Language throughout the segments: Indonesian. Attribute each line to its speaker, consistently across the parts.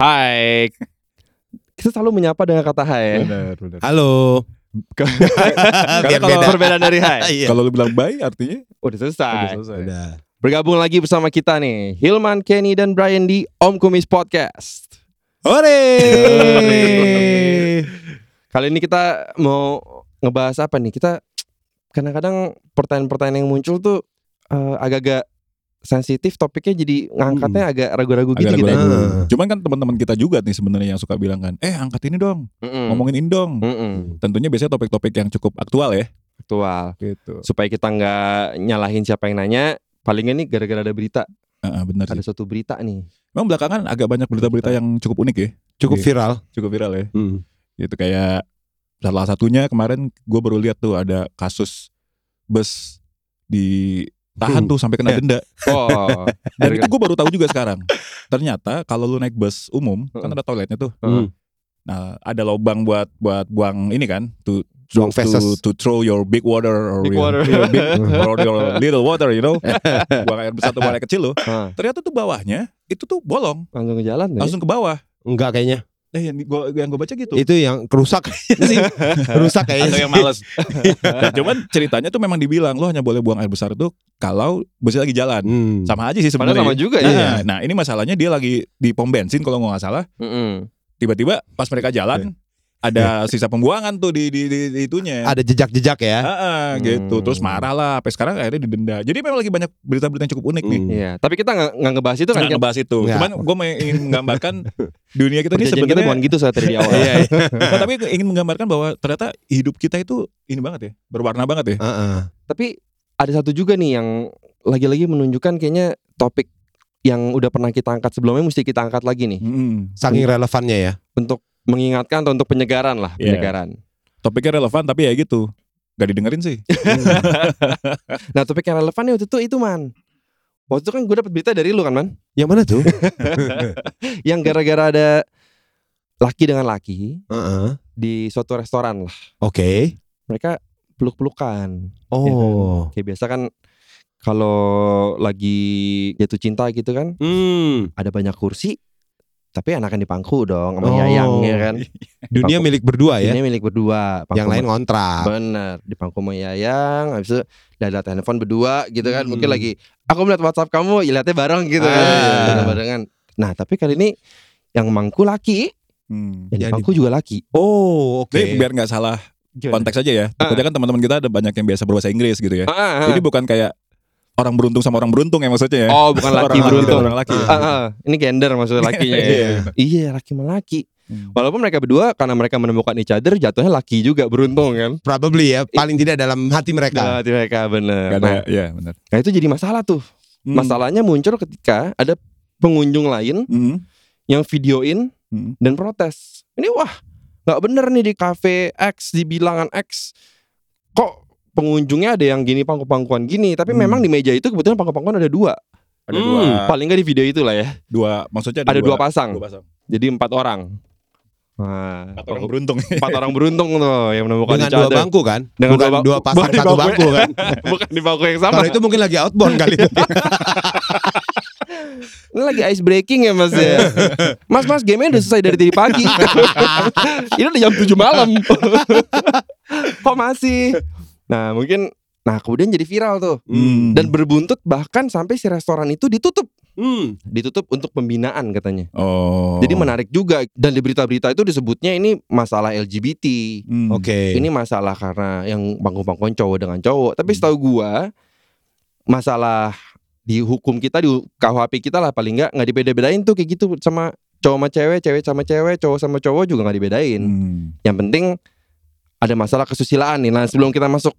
Speaker 1: Hai. Kita selalu menyapa dengan kata hai.
Speaker 2: Benar, benar.
Speaker 3: Halo.
Speaker 1: Karena
Speaker 3: Biar
Speaker 1: kalau
Speaker 3: beda.
Speaker 1: perbedaan dari hai.
Speaker 3: Iya.
Speaker 2: Kalau lu bilang bye artinya
Speaker 1: Udah
Speaker 2: ya. udah
Speaker 1: selesai.
Speaker 2: selesai.
Speaker 3: Udah.
Speaker 1: Bergabung lagi bersama kita nih, Hilman, Kenny, dan Brian di Om Kumis Podcast.
Speaker 3: Ore.
Speaker 1: Kali ini kita mau ngebahas apa nih? Kita kadang-kadang pertanyaan-pertanyaan yang muncul tuh eh, agak-agak sensitif topiknya jadi ngangkatnya agak ragu-ragu gitu
Speaker 2: Agak
Speaker 1: gitu.
Speaker 2: ragu-ragu.
Speaker 3: Ah.
Speaker 2: Cuman kan teman-teman kita juga nih sebenarnya yang suka bilang kan, eh angkat ini dong,
Speaker 1: Mm-mm.
Speaker 3: Hmm.
Speaker 2: ngomongin ini dong.
Speaker 1: Mm-mm.
Speaker 2: Tentunya biasanya topik-topik yang cukup aktual ya.
Speaker 1: Aktual.
Speaker 2: Gitu.
Speaker 1: Supaya kita nggak nyalahin siapa yang nanya, paling ini gara-gara ada berita, ada
Speaker 2: benar Ah, sih.
Speaker 1: suatu berita nih.
Speaker 2: Memang belakangan agak banyak berita-berita yang cukup unik ya,
Speaker 3: Cukup
Speaker 2: Iya.
Speaker 3: viral.
Speaker 2: cukup viral ya.
Speaker 3: Hmm,
Speaker 2: Gitu kayak salah satunya kemarin gue baru lihat tuh ada kasus bus ditahan
Speaker 3: Hmm. Iya.
Speaker 2: tuh sampai kena
Speaker 3: Ya.
Speaker 2: denda.
Speaker 1: Oh,
Speaker 2: Dan itu gue baru tahu juga sekarang. Ternyata kalau lu naik bus umum
Speaker 3: Hmm.
Speaker 2: kan
Speaker 1: Mm-mm.
Speaker 2: ada toiletnya tuh.
Speaker 1: Heeh.
Speaker 2: Nah, ada lubang buat buat buang ini kan to
Speaker 3: Buang
Speaker 2: to,
Speaker 3: feses.
Speaker 2: to throw your big water or
Speaker 1: Big
Speaker 2: your,
Speaker 1: water.
Speaker 2: your big or your little water, you know. buang air besar atau buang air kecil lo.
Speaker 1: Hah. Eh.
Speaker 2: Ternyata tuh bawahnya itu tuh bolong,
Speaker 1: langsung ke jalan deh.
Speaker 2: langsung ke bawah.
Speaker 3: Enggak kayaknya.
Speaker 2: Eh yang gua yang gua baca gitu.
Speaker 3: Itu yang kerusak kayaknya sih. Rusak
Speaker 2: Atau
Speaker 3: kayaknya.
Speaker 2: yang males. Nah, cuman ceritanya tuh memang dibilang lo hanya boleh buang air besar itu kalau busnya lagi jalan.
Speaker 3: Hmm.
Speaker 2: Sama aja sih
Speaker 1: Padahal sama
Speaker 2: sebenarnya.
Speaker 1: juga
Speaker 2: Nah,
Speaker 1: ya.
Speaker 2: nah, ini masalahnya dia lagi di pom bensin kalau nggak salah.
Speaker 1: Mm-mm.
Speaker 2: Tiba-tiba pas mereka jalan ada sisa pembuangan tuh di di, di, di itunya.
Speaker 3: Ada jejak-jejak ya.
Speaker 2: Ah, ah,
Speaker 1: Hmm.
Speaker 2: gitu. Terus marah lah. Sampai sekarang akhirnya didenda. Jadi memang lagi banyak berita-berita yang cukup unik nih.
Speaker 3: Hmm.
Speaker 1: Iya, tapi kita nggak nggak ngebahas itu
Speaker 2: Itu
Speaker 1: kan. Kita
Speaker 2: ngebahas itu.
Speaker 3: Nggak.
Speaker 2: Cuman gue ingin menggambarkan dunia kita ini
Speaker 1: perjanjian kita bukan
Speaker 2: sebenarnya.
Speaker 1: gitu saat dari awal.
Speaker 2: Iya, iya. Nah, tapi gua ingin menggambarkan bahwa ternyata hidup kita itu ini banget ya, berwarna banget ya.
Speaker 3: Heeh.
Speaker 1: tapi ada satu juga nih yang lagi-lagi menunjukkan kayaknya topik yang udah pernah kita angkat sebelumnya mesti kita angkat lagi nih
Speaker 2: Mm-mm.
Speaker 3: Saking relevannya ya.
Speaker 1: untuk mengingatkan atau untuk penyegaran lah,
Speaker 2: Iya.
Speaker 1: penyegaran.
Speaker 2: Topiknya relevan tapi ya gitu. Gak didengerin sih.
Speaker 1: Eh, Nah, topik yang relevan nih waktu itu itu man. Waktu itu kan gue dapet berita dari lu kan man,
Speaker 3: Yang mana tuh?
Speaker 1: yang gara-gara ada laki dengan laki
Speaker 3: Heeh.
Speaker 1: di suatu restoran lah.
Speaker 3: Oke.
Speaker 1: Mereka peluk-pelukan.
Speaker 3: Oh.
Speaker 1: Kayak biasa kan kalau lagi jatuh cinta gitu kan,
Speaker 3: Hmm.
Speaker 1: ada banyak kursi tapi enakan di pangku dong sama
Speaker 3: Oh.
Speaker 1: yayangnya kan
Speaker 3: Dunia milik berdua ya.
Speaker 1: ini milik berdua pangku
Speaker 3: Yang lain
Speaker 1: sama-
Speaker 3: ngontrak.
Speaker 1: bener di pangku sama yayang habis itu ada telepon berdua gitu kan mungkin
Speaker 3: Hmm.
Speaker 1: lagi aku melihat WhatsApp kamu ya lihatnya bareng gitu
Speaker 3: Ah.
Speaker 1: kan barengan nah tapi kali ini yang mangku laki
Speaker 2: Hmm.
Speaker 1: yang di
Speaker 3: Yang
Speaker 1: pangku juga laki
Speaker 3: Oh, oke.
Speaker 2: Jadi biar nggak salah konteks aja ya. Takutnya kan teman-teman kita ada banyak yang biasa berbahasa Inggris gitu
Speaker 1: Ah,
Speaker 2: ya.
Speaker 1: ah, ah.
Speaker 2: Jadi bukan kayak orang beruntung sama orang beruntung ya maksudnya ya.
Speaker 1: oh bukan laki
Speaker 2: Orang-
Speaker 1: beruntung
Speaker 2: Orang laki.
Speaker 1: Ah, ah. ini gender maksudnya lakinya ya. iya laki melaki
Speaker 2: Hmm.
Speaker 1: walaupun mereka berdua karena mereka menemukan each other jatuhnya laki juga beruntung kan
Speaker 3: Probably ya, paling tidak dalam hati mereka.
Speaker 1: Dalam hati mereka bener
Speaker 2: Gak
Speaker 1: Nah,
Speaker 2: Iya. ada, ya benar.
Speaker 1: Nah itu jadi masalah tuh.
Speaker 2: Hmm.
Speaker 1: Masalahnya muncul ketika ada pengunjung lain
Speaker 2: Hmm.
Speaker 1: yang videoin
Speaker 2: Hmm.
Speaker 1: dan protes. Ini wah nggak bener nih di cafe X di bilangan X kok pengunjungnya ada yang gini pangku-pangkuan gini. Tapi
Speaker 2: Hmm.
Speaker 1: memang di meja itu kebetulan pangku-pangkuan ada dua.
Speaker 2: Ada
Speaker 3: Hmm.
Speaker 2: dua,
Speaker 1: Paling nggak di video itu lah ya.
Speaker 2: dua maksudnya ada,
Speaker 1: Ada dua, pasang.
Speaker 2: dua pasang.
Speaker 1: Jadi empat orang. Nah,
Speaker 2: Empat orang beruntung. ya?
Speaker 1: empat orang beruntung tuh yang menemukan
Speaker 3: Dengan
Speaker 1: each
Speaker 3: dua
Speaker 1: other.
Speaker 3: bangku kan?
Speaker 1: Dengan
Speaker 3: Bukan
Speaker 1: dua bangku.
Speaker 3: dua pasang
Speaker 1: Bukan di
Speaker 3: satu
Speaker 1: bangku.
Speaker 3: bangku kan?
Speaker 1: Bukan di bangku yang sama.
Speaker 3: Kalau itu mungkin lagi outbound kali itu.
Speaker 1: Ini lagi ice breaking ya mas ya Mas mas gamenya udah selesai dari tadi pagi Ini udah jam 7 malam Kok masih Nah mungkin Nah kemudian jadi viral tuh
Speaker 2: Hmm.
Speaker 1: Dan berbuntut bahkan sampai si restoran itu ditutup
Speaker 3: Hmm.
Speaker 1: Ditutup untuk pembinaan katanya
Speaker 2: oh.
Speaker 1: Jadi menarik juga Dan di berita-berita itu disebutnya ini masalah LGBT
Speaker 2: Hmm.
Speaker 3: Oke.
Speaker 1: Ini masalah karena yang panggung-panggung cowok dengan cowok Tapi
Speaker 2: Hmm.
Speaker 1: setahu gua Masalah di hukum kita di KUHP kita lah paling nggak nggak dibeda-bedain tuh kayak gitu sama cowok sama cewek, cewek sama cewek, cowok sama cowok juga nggak dibedain.
Speaker 2: Hmm.
Speaker 1: Yang penting ada masalah kesusilaan nih. Nah sebelum kita masuk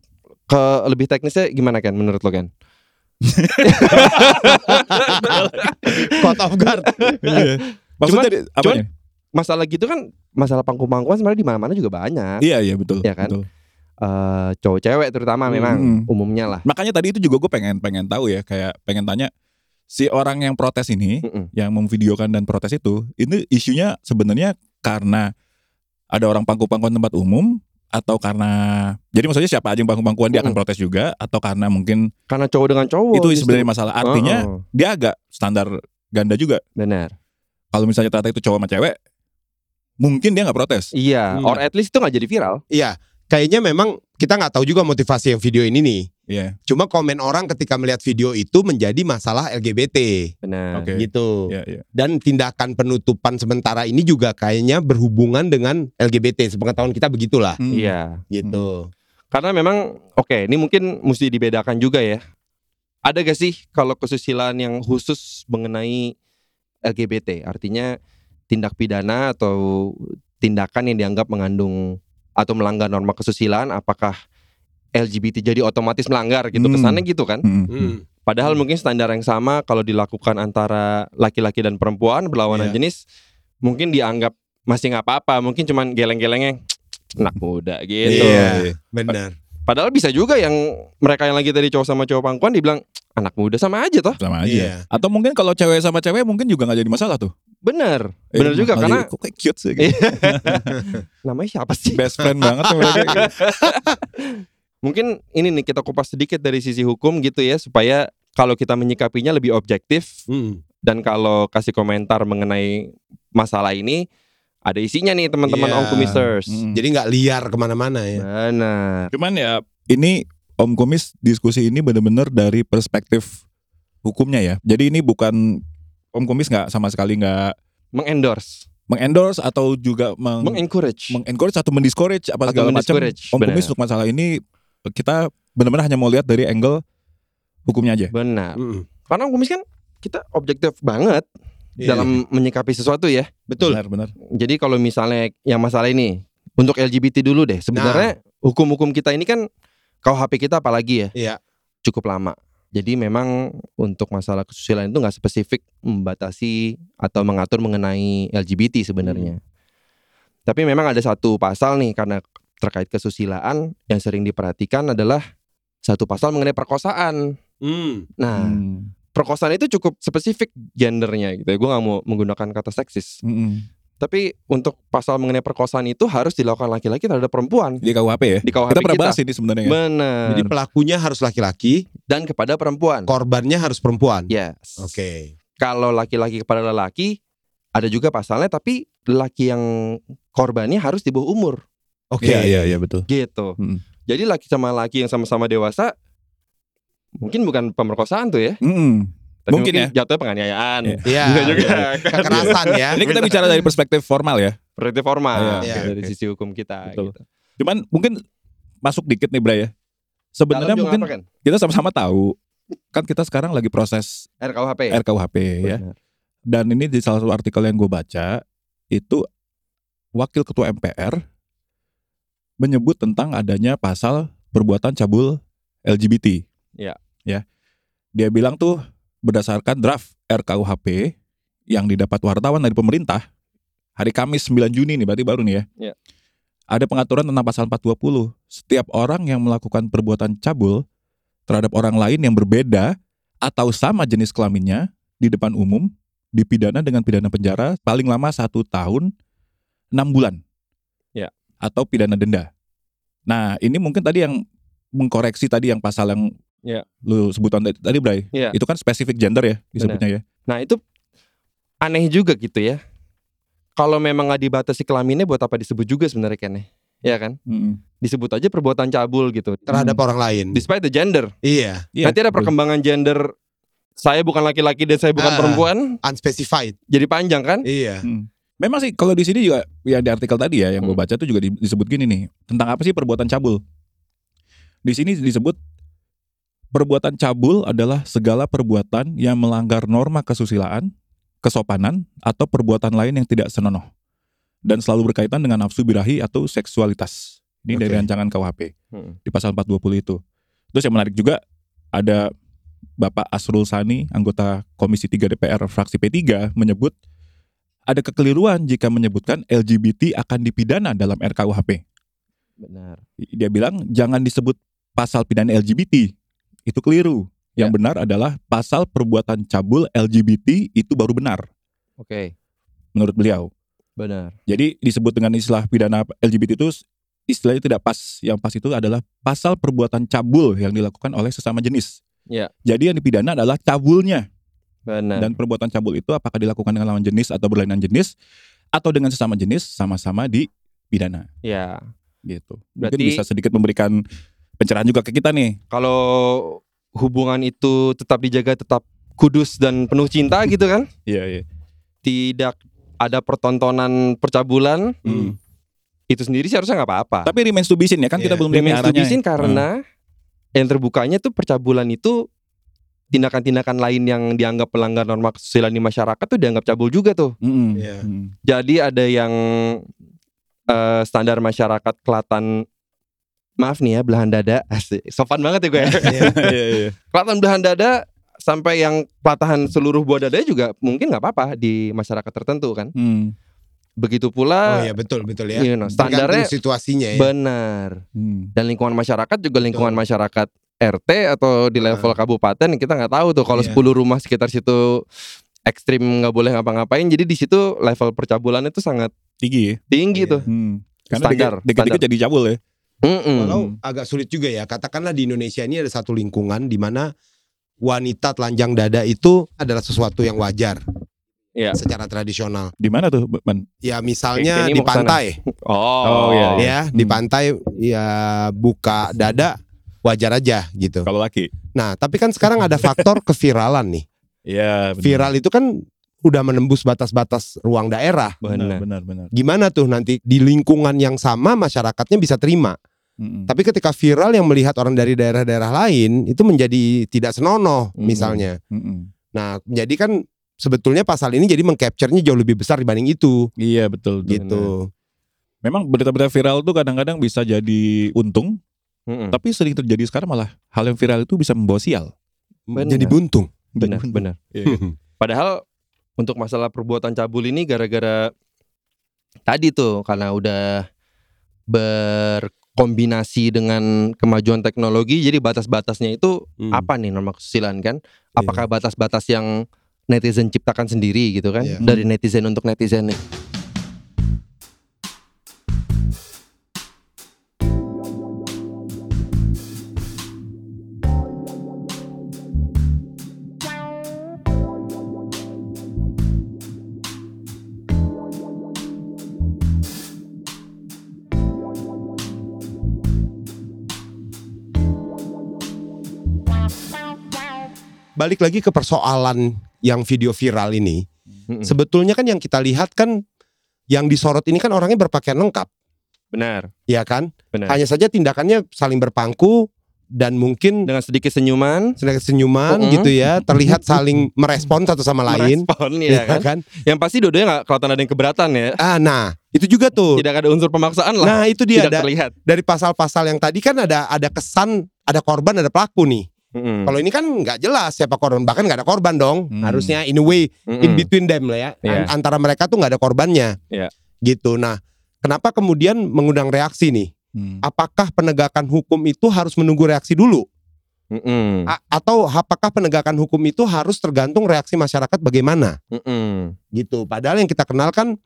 Speaker 1: ke lebih teknisnya gimana kan menurut lo kan?
Speaker 3: Caught off guard.
Speaker 2: Iya. Maksudnya ya? di- apanya?
Speaker 1: Masalah gitu kan masalah pangku-pangkuan sebenarnya di mana-mana juga banyak.
Speaker 2: iya iya betul.
Speaker 1: Iya kan?
Speaker 2: betul.
Speaker 1: Eh, cowok cewek terutama memang
Speaker 2: Hmm.
Speaker 1: umumnya lah.
Speaker 2: Makanya tadi itu juga gue pengen pengen tahu ya kayak pengen tanya si orang yang protes ini
Speaker 1: Mm-mm.
Speaker 2: yang memvideokan dan protes itu ini isunya sebenarnya karena ada orang pangku-pangkuan tempat umum atau karena jadi maksudnya siapa aja yang pangku-pangkuan dia akan
Speaker 1: Mm-mm.
Speaker 2: protes juga atau karena mungkin
Speaker 1: Karena cowok dengan cowok
Speaker 2: itu
Speaker 1: Oh, justru.
Speaker 2: sebenarnya masalah artinya
Speaker 1: Oh, oh.
Speaker 2: dia agak standar ganda juga
Speaker 1: benar.
Speaker 2: kalau misalnya ternyata itu cowok sama cewek, mungkin dia nggak protes.
Speaker 1: Iya,
Speaker 3: Hmm.
Speaker 1: or at least itu nggak jadi viral.
Speaker 3: Iya, kayaknya memang kita nggak tahu juga motivasi yang video ini nih.
Speaker 2: Iya.
Speaker 3: Cuma komen orang ketika melihat video itu menjadi masalah LGBT
Speaker 1: Benar.
Speaker 2: Oke.
Speaker 3: gitu.
Speaker 2: Iya, iya.
Speaker 3: Dan tindakan penutupan sementara ini juga kayaknya berhubungan dengan LGBT sepengetahuan kita begitulah
Speaker 2: Hmm.
Speaker 1: Iya.
Speaker 3: gitu.
Speaker 1: Karena memang oke, ini mungkin mesti dibedakan juga ya. Ada gak sih kalau kesusilaan yang khusus mengenai LGBT? Artinya tindak pidana atau tindakan yang dianggap mengandung atau melanggar norma kesusilaan apakah LGBT jadi otomatis melanggar gitu
Speaker 2: Hmm.
Speaker 1: kesannya gitu kan?
Speaker 2: Hmm.
Speaker 3: Hmm.
Speaker 1: Padahal
Speaker 3: Hmm.
Speaker 1: mungkin standar yang sama kalau dilakukan antara laki-laki dan perempuan berlawanan
Speaker 2: Iya.
Speaker 1: jenis mungkin dianggap masih nggak apa-apa, mungkin cuman geleng-gelengnya anak muda gitu.
Speaker 3: Iya.
Speaker 2: Iya.
Speaker 3: Benar.
Speaker 1: Padahal bisa juga yang mereka yang lagi tadi cowok sama cowok pangkuan dibilang anak muda sama aja toh.
Speaker 2: Sama aja.
Speaker 3: Iya.
Speaker 2: Atau mungkin kalau cewek sama cewek mungkin juga nggak jadi masalah tuh.
Speaker 1: Bener, bener
Speaker 2: Eh,
Speaker 1: juga karena
Speaker 2: malah jadi, kok kayak cute sih.
Speaker 1: Iya.
Speaker 2: Gitu.
Speaker 1: namanya siapa sih?
Speaker 2: Best friend banget tuh mereka.
Speaker 1: Iya. Mungkin ini nih kita kupas sedikit dari sisi hukum gitu ya supaya kalau kita menyikapinya lebih objektif
Speaker 3: Hmm.
Speaker 1: dan kalau kasih komentar mengenai masalah ini ada isinya nih teman-teman
Speaker 3: Iya.
Speaker 1: yeah. Onkumisers.
Speaker 2: Hmm.
Speaker 3: Jadi nggak liar kemana-mana ya.
Speaker 1: Benar.
Speaker 2: Cuman ya ini Om Komis diskusi ini benar-benar dari perspektif hukumnya ya. Jadi ini bukan Om Komis nggak sama sekali nggak
Speaker 1: Mengendorse,
Speaker 2: mengendorse atau juga meng,
Speaker 1: mengencourage.
Speaker 2: mengencourage atau mendiscourage
Speaker 1: Atau
Speaker 2: apa segala macam.
Speaker 1: mendiscourage,
Speaker 2: Om Komis
Speaker 1: benar.
Speaker 2: untuk masalah ini kita benar-benar hanya mau lihat dari angle hukumnya aja.
Speaker 1: Benar.
Speaker 3: Hmm.
Speaker 1: Karena Onkumis kan kita objektif banget
Speaker 3: Iya.
Speaker 1: dalam menyikapi sesuatu ya.
Speaker 3: betul.
Speaker 2: Benar-benar.
Speaker 1: Jadi kalau misalnya yang masalah ini untuk LGBT dulu deh. Sebenarnya hukum-hukum kita ini kan KUHP kita apalagi ya?
Speaker 3: Iya.
Speaker 1: Cukup lama. Jadi memang untuk masalah kesusilaan itu nggak spesifik membatasi atau mengatur mengenai LGBT sebenarnya. Tapi memang ada satu pasal nih karena terkait kesusilaan yang sering diperhatikan adalah satu pasal mengenai perkosaan.
Speaker 3: Hmm.
Speaker 1: Nah,
Speaker 2: Hmm.
Speaker 1: perkosaan itu cukup spesifik gendernya gitu ya. Gue nggak mau menggunakan kata seksis.
Speaker 2: Mm-mm.
Speaker 1: Tapi untuk pasal mengenai perkosaan itu harus dilakukan laki-laki terhadap perempuan
Speaker 2: Di KUHP ya.
Speaker 1: di KUHP Nah,
Speaker 2: Kita
Speaker 1: kita.
Speaker 2: pernah bahas ini sebenarnya. ya.
Speaker 1: Benar.
Speaker 3: Jadi pelakunya harus laki-laki,
Speaker 1: Dan kepada perempuan.
Speaker 3: korbannya harus perempuan.
Speaker 1: Yes.
Speaker 3: Oke.
Speaker 1: Kalau laki-laki kepada lelaki ada juga pasalnya tapi laki yang korbannya harus di bawah umur
Speaker 3: Oke.
Speaker 2: Iya, iya, iya betul.
Speaker 1: gitu.
Speaker 2: Mm.
Speaker 1: Jadi laki sama laki yang sama-sama dewasa mungkin bukan pemerkosaan tuh ya.
Speaker 2: Mm-mm.
Speaker 1: Tapi
Speaker 2: Mungkin ya.
Speaker 1: jatuhnya penganiayaan.
Speaker 2: Iya.
Speaker 3: Iya.
Speaker 1: Bisa juga.
Speaker 3: Kekerasan ya.
Speaker 2: Ini kita bicara dari perspektif formal ya.
Speaker 1: Berarti formal gitu
Speaker 3: Iya,
Speaker 1: dari
Speaker 2: oke.
Speaker 1: sisi hukum kita
Speaker 2: Betul.
Speaker 1: gitu.
Speaker 2: Cuman mungkin masuk dikit nih Bray ya. Sebenarnya
Speaker 1: Dalam juga
Speaker 2: mungkin
Speaker 1: apa, kan?
Speaker 2: kita sama-sama tahu kan kita sekarang lagi proses
Speaker 1: RKUHP ya.
Speaker 2: RKUHP ya.
Speaker 1: Benar.
Speaker 2: Dan ini di salah satu artikel yang gue baca itu wakil ketua MPR menyebut tentang adanya pasal perbuatan cabul LGBT.
Speaker 1: Iya.
Speaker 2: Ya. Dia bilang tuh berdasarkan draft RKUHP yang didapat wartawan dari pemerintah hari Kamis 9 Juni nih berarti baru nih ya.
Speaker 1: Iya.
Speaker 2: Ada pengaturan tentang pasal 420. Setiap orang yang melakukan perbuatan cabul terhadap orang lain yang berbeda atau sama jenis kelaminnya di depan umum dipidana dengan pidana penjara paling lama satu tahun enam bulan
Speaker 1: Ya.
Speaker 2: atau pidana denda nah ini mungkin tadi yang mengkoreksi tadi yang pasal yang
Speaker 1: Ya.
Speaker 2: lu sebutan tadi- tadi Bray
Speaker 1: Iya.
Speaker 2: itu kan spesifik gender ya disebutnya ya
Speaker 1: Nah itu aneh juga gitu ya. Kalau memang nggak dibatasi kelaminnya buat apa disebut juga sebenarnya Ken ya? Iya kan?
Speaker 2: Mm-mm.
Speaker 1: Disebut aja perbuatan cabul gitu.
Speaker 3: Terhadap orang lain.
Speaker 1: Despite the gender.
Speaker 3: Iya.
Speaker 2: Iya,
Speaker 1: Nanti ada
Speaker 2: betul.
Speaker 1: perkembangan gender. Saya bukan laki-laki dan saya bukan
Speaker 3: Ah.
Speaker 1: perempuan.
Speaker 3: Unspecified.
Speaker 1: Jadi panjang kan?
Speaker 3: Iya.
Speaker 2: Mm. memang sih kalau di sini juga yang di artikel tadi ya yang gue
Speaker 1: Hmm.
Speaker 2: baca tuh juga di- disebut gini nih tentang apa sih perbuatan cabul di sini disebut Perbuatan cabul adalah segala perbuatan yang melanggar norma kesusilaan, kesopanan, atau perbuatan lain yang tidak senonoh dan selalu berkaitan dengan nafsu birahi atau seksualitas. Ini dari
Speaker 3: Oke.
Speaker 2: rancangan KUHP
Speaker 1: Hmm.
Speaker 2: di pasal 420 itu. Terus yang menarik juga ada Bapak Asrul Sani, anggota Komisi 3 DPR fraksi P3 menyebut ada kekeliruan jika menyebutkan LGBT akan dipidana dalam RKUHP
Speaker 1: Benar.
Speaker 2: dia bilang jangan disebut pasal pidana LGBT itu keliru yang benar adalah pasal perbuatan cabul LGBT itu baru benar
Speaker 1: Oke.
Speaker 2: menurut beliau
Speaker 1: Benar.
Speaker 2: jadi disebut dengan istilah pidana LGBT itu istilahnya tidak pas yang pas itu adalah pasal perbuatan cabul yang dilakukan oleh sesama jenis
Speaker 1: Ya.
Speaker 2: jadi yang dipidana adalah cabulnya
Speaker 1: Benar.
Speaker 2: dan perbuatan cabul itu apakah dilakukan dengan lawan jenis atau berlainan jenis atau dengan sesama jenis sama-sama dipidana
Speaker 1: ya.
Speaker 2: gitu. Mungkin
Speaker 1: Berarti-
Speaker 2: bisa sedikit memberikan pencerahan juga ke kita nih.
Speaker 1: Kalau hubungan itu tetap dijaga tetap kudus dan penuh cinta gitu kan?
Speaker 2: Iya, iya.
Speaker 1: Tidak ada pertontonan percabulan
Speaker 2: Hmm.
Speaker 1: itu sendiri sih harusnya nggak apa-apa.
Speaker 2: Tapi remains to be seen ya kan kita
Speaker 3: Iya,
Speaker 2: belum lihat nih
Speaker 1: Remains to be
Speaker 2: arahnya.
Speaker 1: seen
Speaker 3: Hmm.
Speaker 1: karena yang terbukanya tuh percabulan itu tindakan-tindakan lain yang dianggap pelanggar norma kesusilaan di masyarakat tuh dianggap cabul juga tuh.
Speaker 2: Mm-mm.
Speaker 3: Iya.
Speaker 2: Mm.
Speaker 1: Jadi ada yang eh, standar masyarakat Kelatan maaf nih ya belahan dada Asik, sopan banget ya gue. ya.
Speaker 2: Iya, iya.
Speaker 1: Kelatan belahan dada sampai yang patahan seluruh buah dadanya juga mungkin nggak apa-apa di masyarakat tertentu kan.
Speaker 2: Mm.
Speaker 1: Begitu pula
Speaker 3: Oh ya betul betul ya.
Speaker 1: you know,
Speaker 3: Tergantung
Speaker 1: Ah. Iya. standarnya
Speaker 3: situasinya ya.
Speaker 1: benar.
Speaker 2: Mm.
Speaker 1: dan lingkungan masyarakat juga lingkungan masyarakat RT atau di level kabupaten kita nggak tahu tuh kalau
Speaker 3: Iya.
Speaker 1: 10 rumah sekitar situ ekstrim nggak boleh ngapa-ngapain jadi di situ level percabulan itu sangat
Speaker 2: Tinggi ya.
Speaker 1: tinggi
Speaker 3: Iya.
Speaker 1: tuh
Speaker 2: Mm. Karena
Speaker 1: Standar,
Speaker 2: dikit- dikit-dikit jadi cabul ya.
Speaker 1: Mm-mm.
Speaker 3: Walau agak sulit juga ya. Katakanlah di Indonesia ini ada satu lingkungan di mana wanita telanjang dada itu adalah sesuatu yang wajar
Speaker 1: Iya.
Speaker 3: secara tradisional.
Speaker 2: Di mana tuh, Man?
Speaker 3: Ya
Speaker 1: Oke,
Speaker 3: misalnya
Speaker 1: ini
Speaker 3: di
Speaker 1: mau kesana.
Speaker 3: pantai,
Speaker 1: oh,
Speaker 2: Oh, iya, iya.
Speaker 3: ya di
Speaker 2: Hmm.
Speaker 3: pantai ya buka dada wajar aja gitu.
Speaker 2: Kalau laki.
Speaker 3: Nah tapi kan sekarang ada faktor keviralan nih.
Speaker 2: Iya, benar.
Speaker 3: Viral itu kan udah menembus batas-batas ruang daerah.
Speaker 2: Benar, benar, benar.
Speaker 3: Gimana tuh nanti di lingkungan yang sama masyarakatnya bisa terima.
Speaker 2: Mm-mm.
Speaker 3: Tapi ketika viral yang melihat orang dari daerah-daerah lain itu menjadi tidak senonoh
Speaker 1: Hmm.
Speaker 3: misalnya.
Speaker 2: Mm-mm.
Speaker 3: Nah, jadi kan sebetulnya pasal ini jadi mengcapture-nya jauh lebih besar dibanding itu
Speaker 2: Iya, betul. betul.
Speaker 3: gitu.
Speaker 2: Memang berita-berita viral tuh kadang-kadang bisa jadi untung,
Speaker 1: Mm-mm.
Speaker 2: tapi sering terjadi sekarang malah hal yang viral itu bisa membawa sial.
Speaker 1: Benar.
Speaker 3: Jadi buntung.
Speaker 1: benar
Speaker 2: Jadi untung.
Speaker 1: benar
Speaker 2: Iya, kan?
Speaker 1: padahal untuk masalah perbuatan cabul ini gara-gara tadi tuh karena udah berkombinasi dengan kemajuan teknologi jadi batas-batasnya itu
Speaker 3: Hmm. Iya.
Speaker 1: apa nih norma kesusilaan kan? Apakah batas-batas yang netizen ciptakan sendiri gitu kan?
Speaker 3: Iya.
Speaker 1: Dari netizen untuk netizen nih.
Speaker 3: Balik lagi ke persoalan yang video viral ini.
Speaker 1: Mm-mm.
Speaker 3: Sebetulnya kan yang kita lihat kan yang disorot ini kan orangnya berpakaian lengkap,
Speaker 1: Benar.
Speaker 3: ya kan?
Speaker 1: Benar.
Speaker 3: Hanya saja tindakannya saling berpangku dan mungkin
Speaker 1: Dengan sedikit senyuman
Speaker 3: sedikit senyuman
Speaker 1: Mm-mm.
Speaker 3: gitu ya, terlihat saling merespon satu sama lain. Iya.
Speaker 1: merespon, ya kan? Yang pasti dua-duanya nggak kelihatan ada yang keberatan ya.
Speaker 3: Ah, nah, itu juga tuh.
Speaker 1: Tidak ada unsur pemaksaan lah.
Speaker 3: Nah, itu dia
Speaker 1: tidak
Speaker 3: ada
Speaker 1: terlihat.
Speaker 3: dari pasal-pasal yang tadi kan ada ada kesan, ada korban, ada pelaku nih.
Speaker 1: Mm-mm.
Speaker 3: Kalau ini kan nggak jelas siapa korban, bahkan nggak ada korban dong.
Speaker 2: Hmm.
Speaker 3: Harusnya in a way
Speaker 1: Mm-mm.
Speaker 3: in between them lah ya.
Speaker 1: Hmm. Iya.
Speaker 3: An- Antara mereka tuh nggak ada korbannya.
Speaker 1: Iya.
Speaker 3: Gitu. Nah, kenapa kemudian mengundang reaksi nih?
Speaker 2: Mm.
Speaker 3: Apakah penegakan hukum itu harus menunggu reaksi dulu
Speaker 1: Mm-mm.
Speaker 3: A- atau apakah penegakan hukum itu harus tergantung reaksi masyarakat bagaimana?
Speaker 1: Mm-mm.
Speaker 3: Gitu. Padahal yang kita kenal kan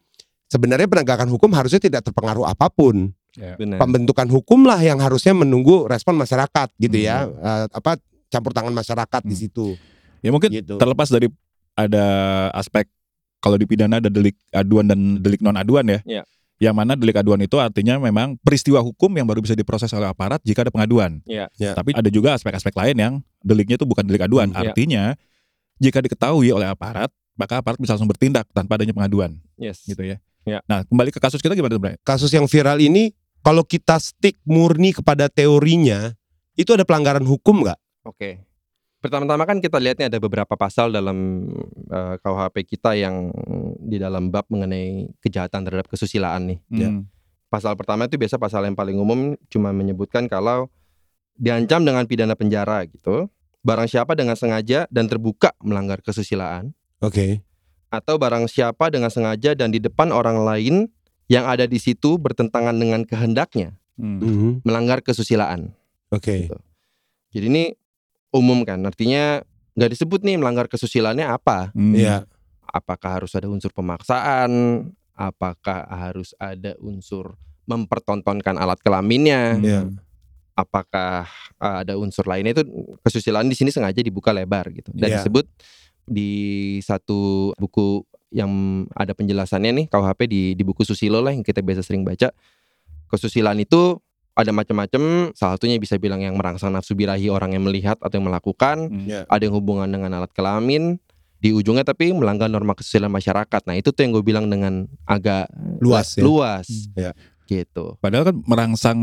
Speaker 3: sebenarnya penegakan hukum harusnya tidak terpengaruh apapun.
Speaker 1: Benar.
Speaker 2: Iya.
Speaker 3: Pembentukan hukum lah yang harusnya menunggu respon masyarakat gitu ya. Eh, apa campur tangan masyarakat di
Speaker 2: Hmm.
Speaker 3: situ
Speaker 2: Ya mungkin
Speaker 3: gitu.
Speaker 2: terlepas dari ada aspek kalau di pidana ada delik aduan dan delik non aduan ya.
Speaker 1: Iya.
Speaker 2: Yang mana delik aduan itu artinya memang peristiwa hukum yang baru bisa diproses oleh aparat jika ada pengaduan.
Speaker 1: Iya.
Speaker 3: Iya.
Speaker 2: Tapi ada juga aspek-aspek lain yang deliknya itu bukan delik aduan.
Speaker 1: Iya.
Speaker 2: Artinya jika diketahui oleh aparat maka aparat bisa langsung bertindak tanpa adanya pengaduan
Speaker 1: Yes.
Speaker 2: gitu ya.
Speaker 1: Iya.
Speaker 2: Nah kembali ke kasus kita gimana tuh Bray?
Speaker 3: kasus yang viral ini kalau kita stick murni kepada teorinya itu ada pelanggaran hukum nggak?
Speaker 1: Oke. Pertama-tama kan kita lihatnya ada beberapa pasal dalam eh, KUHP kita yang di dalam bab mengenai kejahatan terhadap kesusilaan nih.
Speaker 2: Iya.
Speaker 1: pasal pertama itu biasa pasal yang paling umum cuma menyebutkan kalau diancam dengan pidana penjara gitu barang siapa dengan sengaja dan terbuka melanggar kesusilaan
Speaker 3: Oke.
Speaker 1: atau barang siapa dengan sengaja dan di depan orang lain yang ada di situ bertentangan dengan kehendaknya
Speaker 2: Mm.
Speaker 3: Mhm.
Speaker 1: melanggar kesusilaan
Speaker 3: Oke.
Speaker 1: gitu. jadi ini umum kan artinya nggak disebut nih melanggar kesusilaannya apa
Speaker 2: Mm.
Speaker 3: Iya.
Speaker 1: apakah harus ada unsur pemaksaan apakah harus ada unsur mempertontonkan alat kelaminnya
Speaker 2: Hmm.
Speaker 3: Iya.
Speaker 1: eh, apakah uh, ada unsur lainnya itu kesusilaan di sini sengaja dibuka lebar gitu dan
Speaker 3: Iya.
Speaker 1: disebut di satu buku yang ada penjelasannya nih KUHP di di buku Susilo lah yang kita biasa sering baca. Kesusilaan itu ada macam-macam, salah satunya bisa bilang yang merangsang nafsu birahi orang yang melihat atau yang melakukan,
Speaker 2: Iya.
Speaker 1: ada yang hubungan dengan alat kelamin, di ujungnya tapi melanggar norma kesusilaan masyarakat. Nah, itu tuh yang gue bilang dengan agak
Speaker 3: Luas ya.
Speaker 1: Luas.
Speaker 2: Hmm.
Speaker 3: Iya.
Speaker 1: Gitu.
Speaker 2: Padahal kan merangsang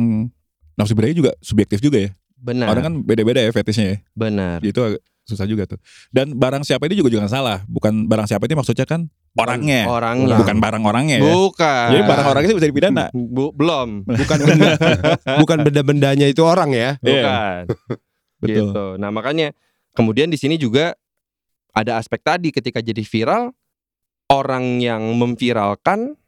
Speaker 2: nafsu birahi juga subjektif juga ya.
Speaker 1: Benar.
Speaker 2: Orang kan beda-beda ya fetishnya ya.
Speaker 1: benar.
Speaker 2: Jadi Itu agak susah juga tuh. Dan barang siapa ini juga jangan salah. Bukan barang siapa ini maksudnya kan orangnya.
Speaker 1: Orangnya.
Speaker 2: Bukan barang orangnya ya.
Speaker 1: Bukan.
Speaker 2: Jadi barang orangnya sih bisa dipidana.
Speaker 1: Bu- belum.
Speaker 3: Bukan benda, bukan benda-bendanya itu orang ya.
Speaker 2: Iya,
Speaker 1: Bukan.
Speaker 2: betul.
Speaker 1: Gitu. Nah, makanya kemudian di sini juga ada aspek tadi ketika jadi viral orang yang memviralkan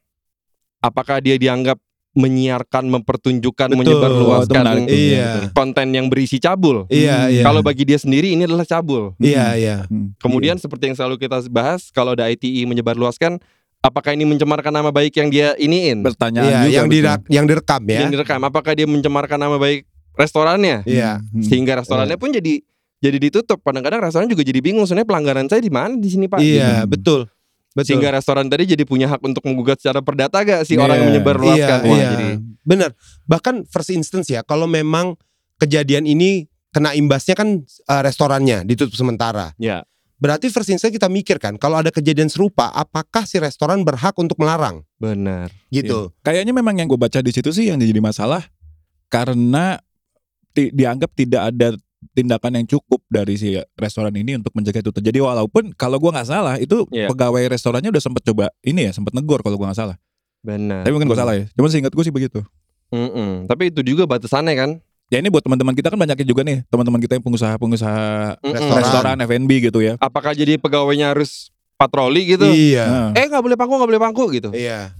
Speaker 1: apakah dia dianggap menyiarkan, mempertunjukkan,
Speaker 3: Betul.
Speaker 2: Itu menarik
Speaker 1: menyebarluaskan gitu.
Speaker 2: tuh.
Speaker 3: Iya.
Speaker 1: konten yang berisi cabul.
Speaker 3: Iya,
Speaker 2: Hmm.
Speaker 3: iya.
Speaker 1: Kalau bagi dia sendiri ini adalah cabul.
Speaker 3: iya, iya.
Speaker 2: Hmm.
Speaker 1: Kemudian seperti yang selalu kita bahas kalau ada ITI menyebarluaskan apakah ini mencemarkan nama baik yang dia iniin?
Speaker 2: Pertanyaan
Speaker 3: Iya,
Speaker 2: juga gitu. Hmm.
Speaker 3: yang
Speaker 2: betul.
Speaker 3: dirak, yang direkam ya.
Speaker 1: Yang direkam apakah dia mencemarkan nama baik restorannya?
Speaker 3: Iya.
Speaker 2: Hmm.
Speaker 1: sehingga restorannya pun jadi jadi ditutup kadang-kadang restoran juga jadi bingung sebenarnya pelanggaran saya di mana di sini pak
Speaker 3: Iya,
Speaker 2: Hmm.
Speaker 3: betul. Betul.
Speaker 1: sehingga restoran tadi jadi punya hak untuk menggugat secara perdata gak si
Speaker 2: Iya.
Speaker 1: orang yang menyebar luaskan
Speaker 3: Iya,
Speaker 1: Wah,
Speaker 3: iya.
Speaker 1: jadi
Speaker 3: Benar. Bahkan first instance ya, kalau memang kejadian ini kena imbasnya kan eh, restorannya ditutup sementara.
Speaker 1: Ya.
Speaker 3: Berarti first instance kita mikir kan, kalau ada kejadian serupa, apakah si restoran berhak untuk melarang?
Speaker 1: benar
Speaker 3: Gitu.
Speaker 2: Kayaknya memang yang gue baca di situ sih yang jadi masalah karena ti- dianggap tidak ada tindakan yang cukup dari si restoran ini untuk mencegah itu terjadi walaupun kalau gua nggak salah itu
Speaker 1: Iya.
Speaker 2: pegawai restorannya udah sempet coba ini ya sempet negor kalau gua nggak salah
Speaker 1: benar
Speaker 2: tapi mungkin gua salah ya cuman seingat gua sih begitu
Speaker 1: Mm-mm. tapi itu juga batasannya kan
Speaker 2: ya ini buat teman-teman kita kan banyaknya juga nih teman-teman kita yang pengusaha-pengusaha
Speaker 1: Mm-mm.
Speaker 3: Restoran.
Speaker 2: restoran F&B gitu ya
Speaker 1: apakah jadi pegawainya harus patroli gitu
Speaker 3: Iya.
Speaker 2: Nah,
Speaker 1: eh nggak boleh pangku nggak boleh pangku gitu
Speaker 3: Iya.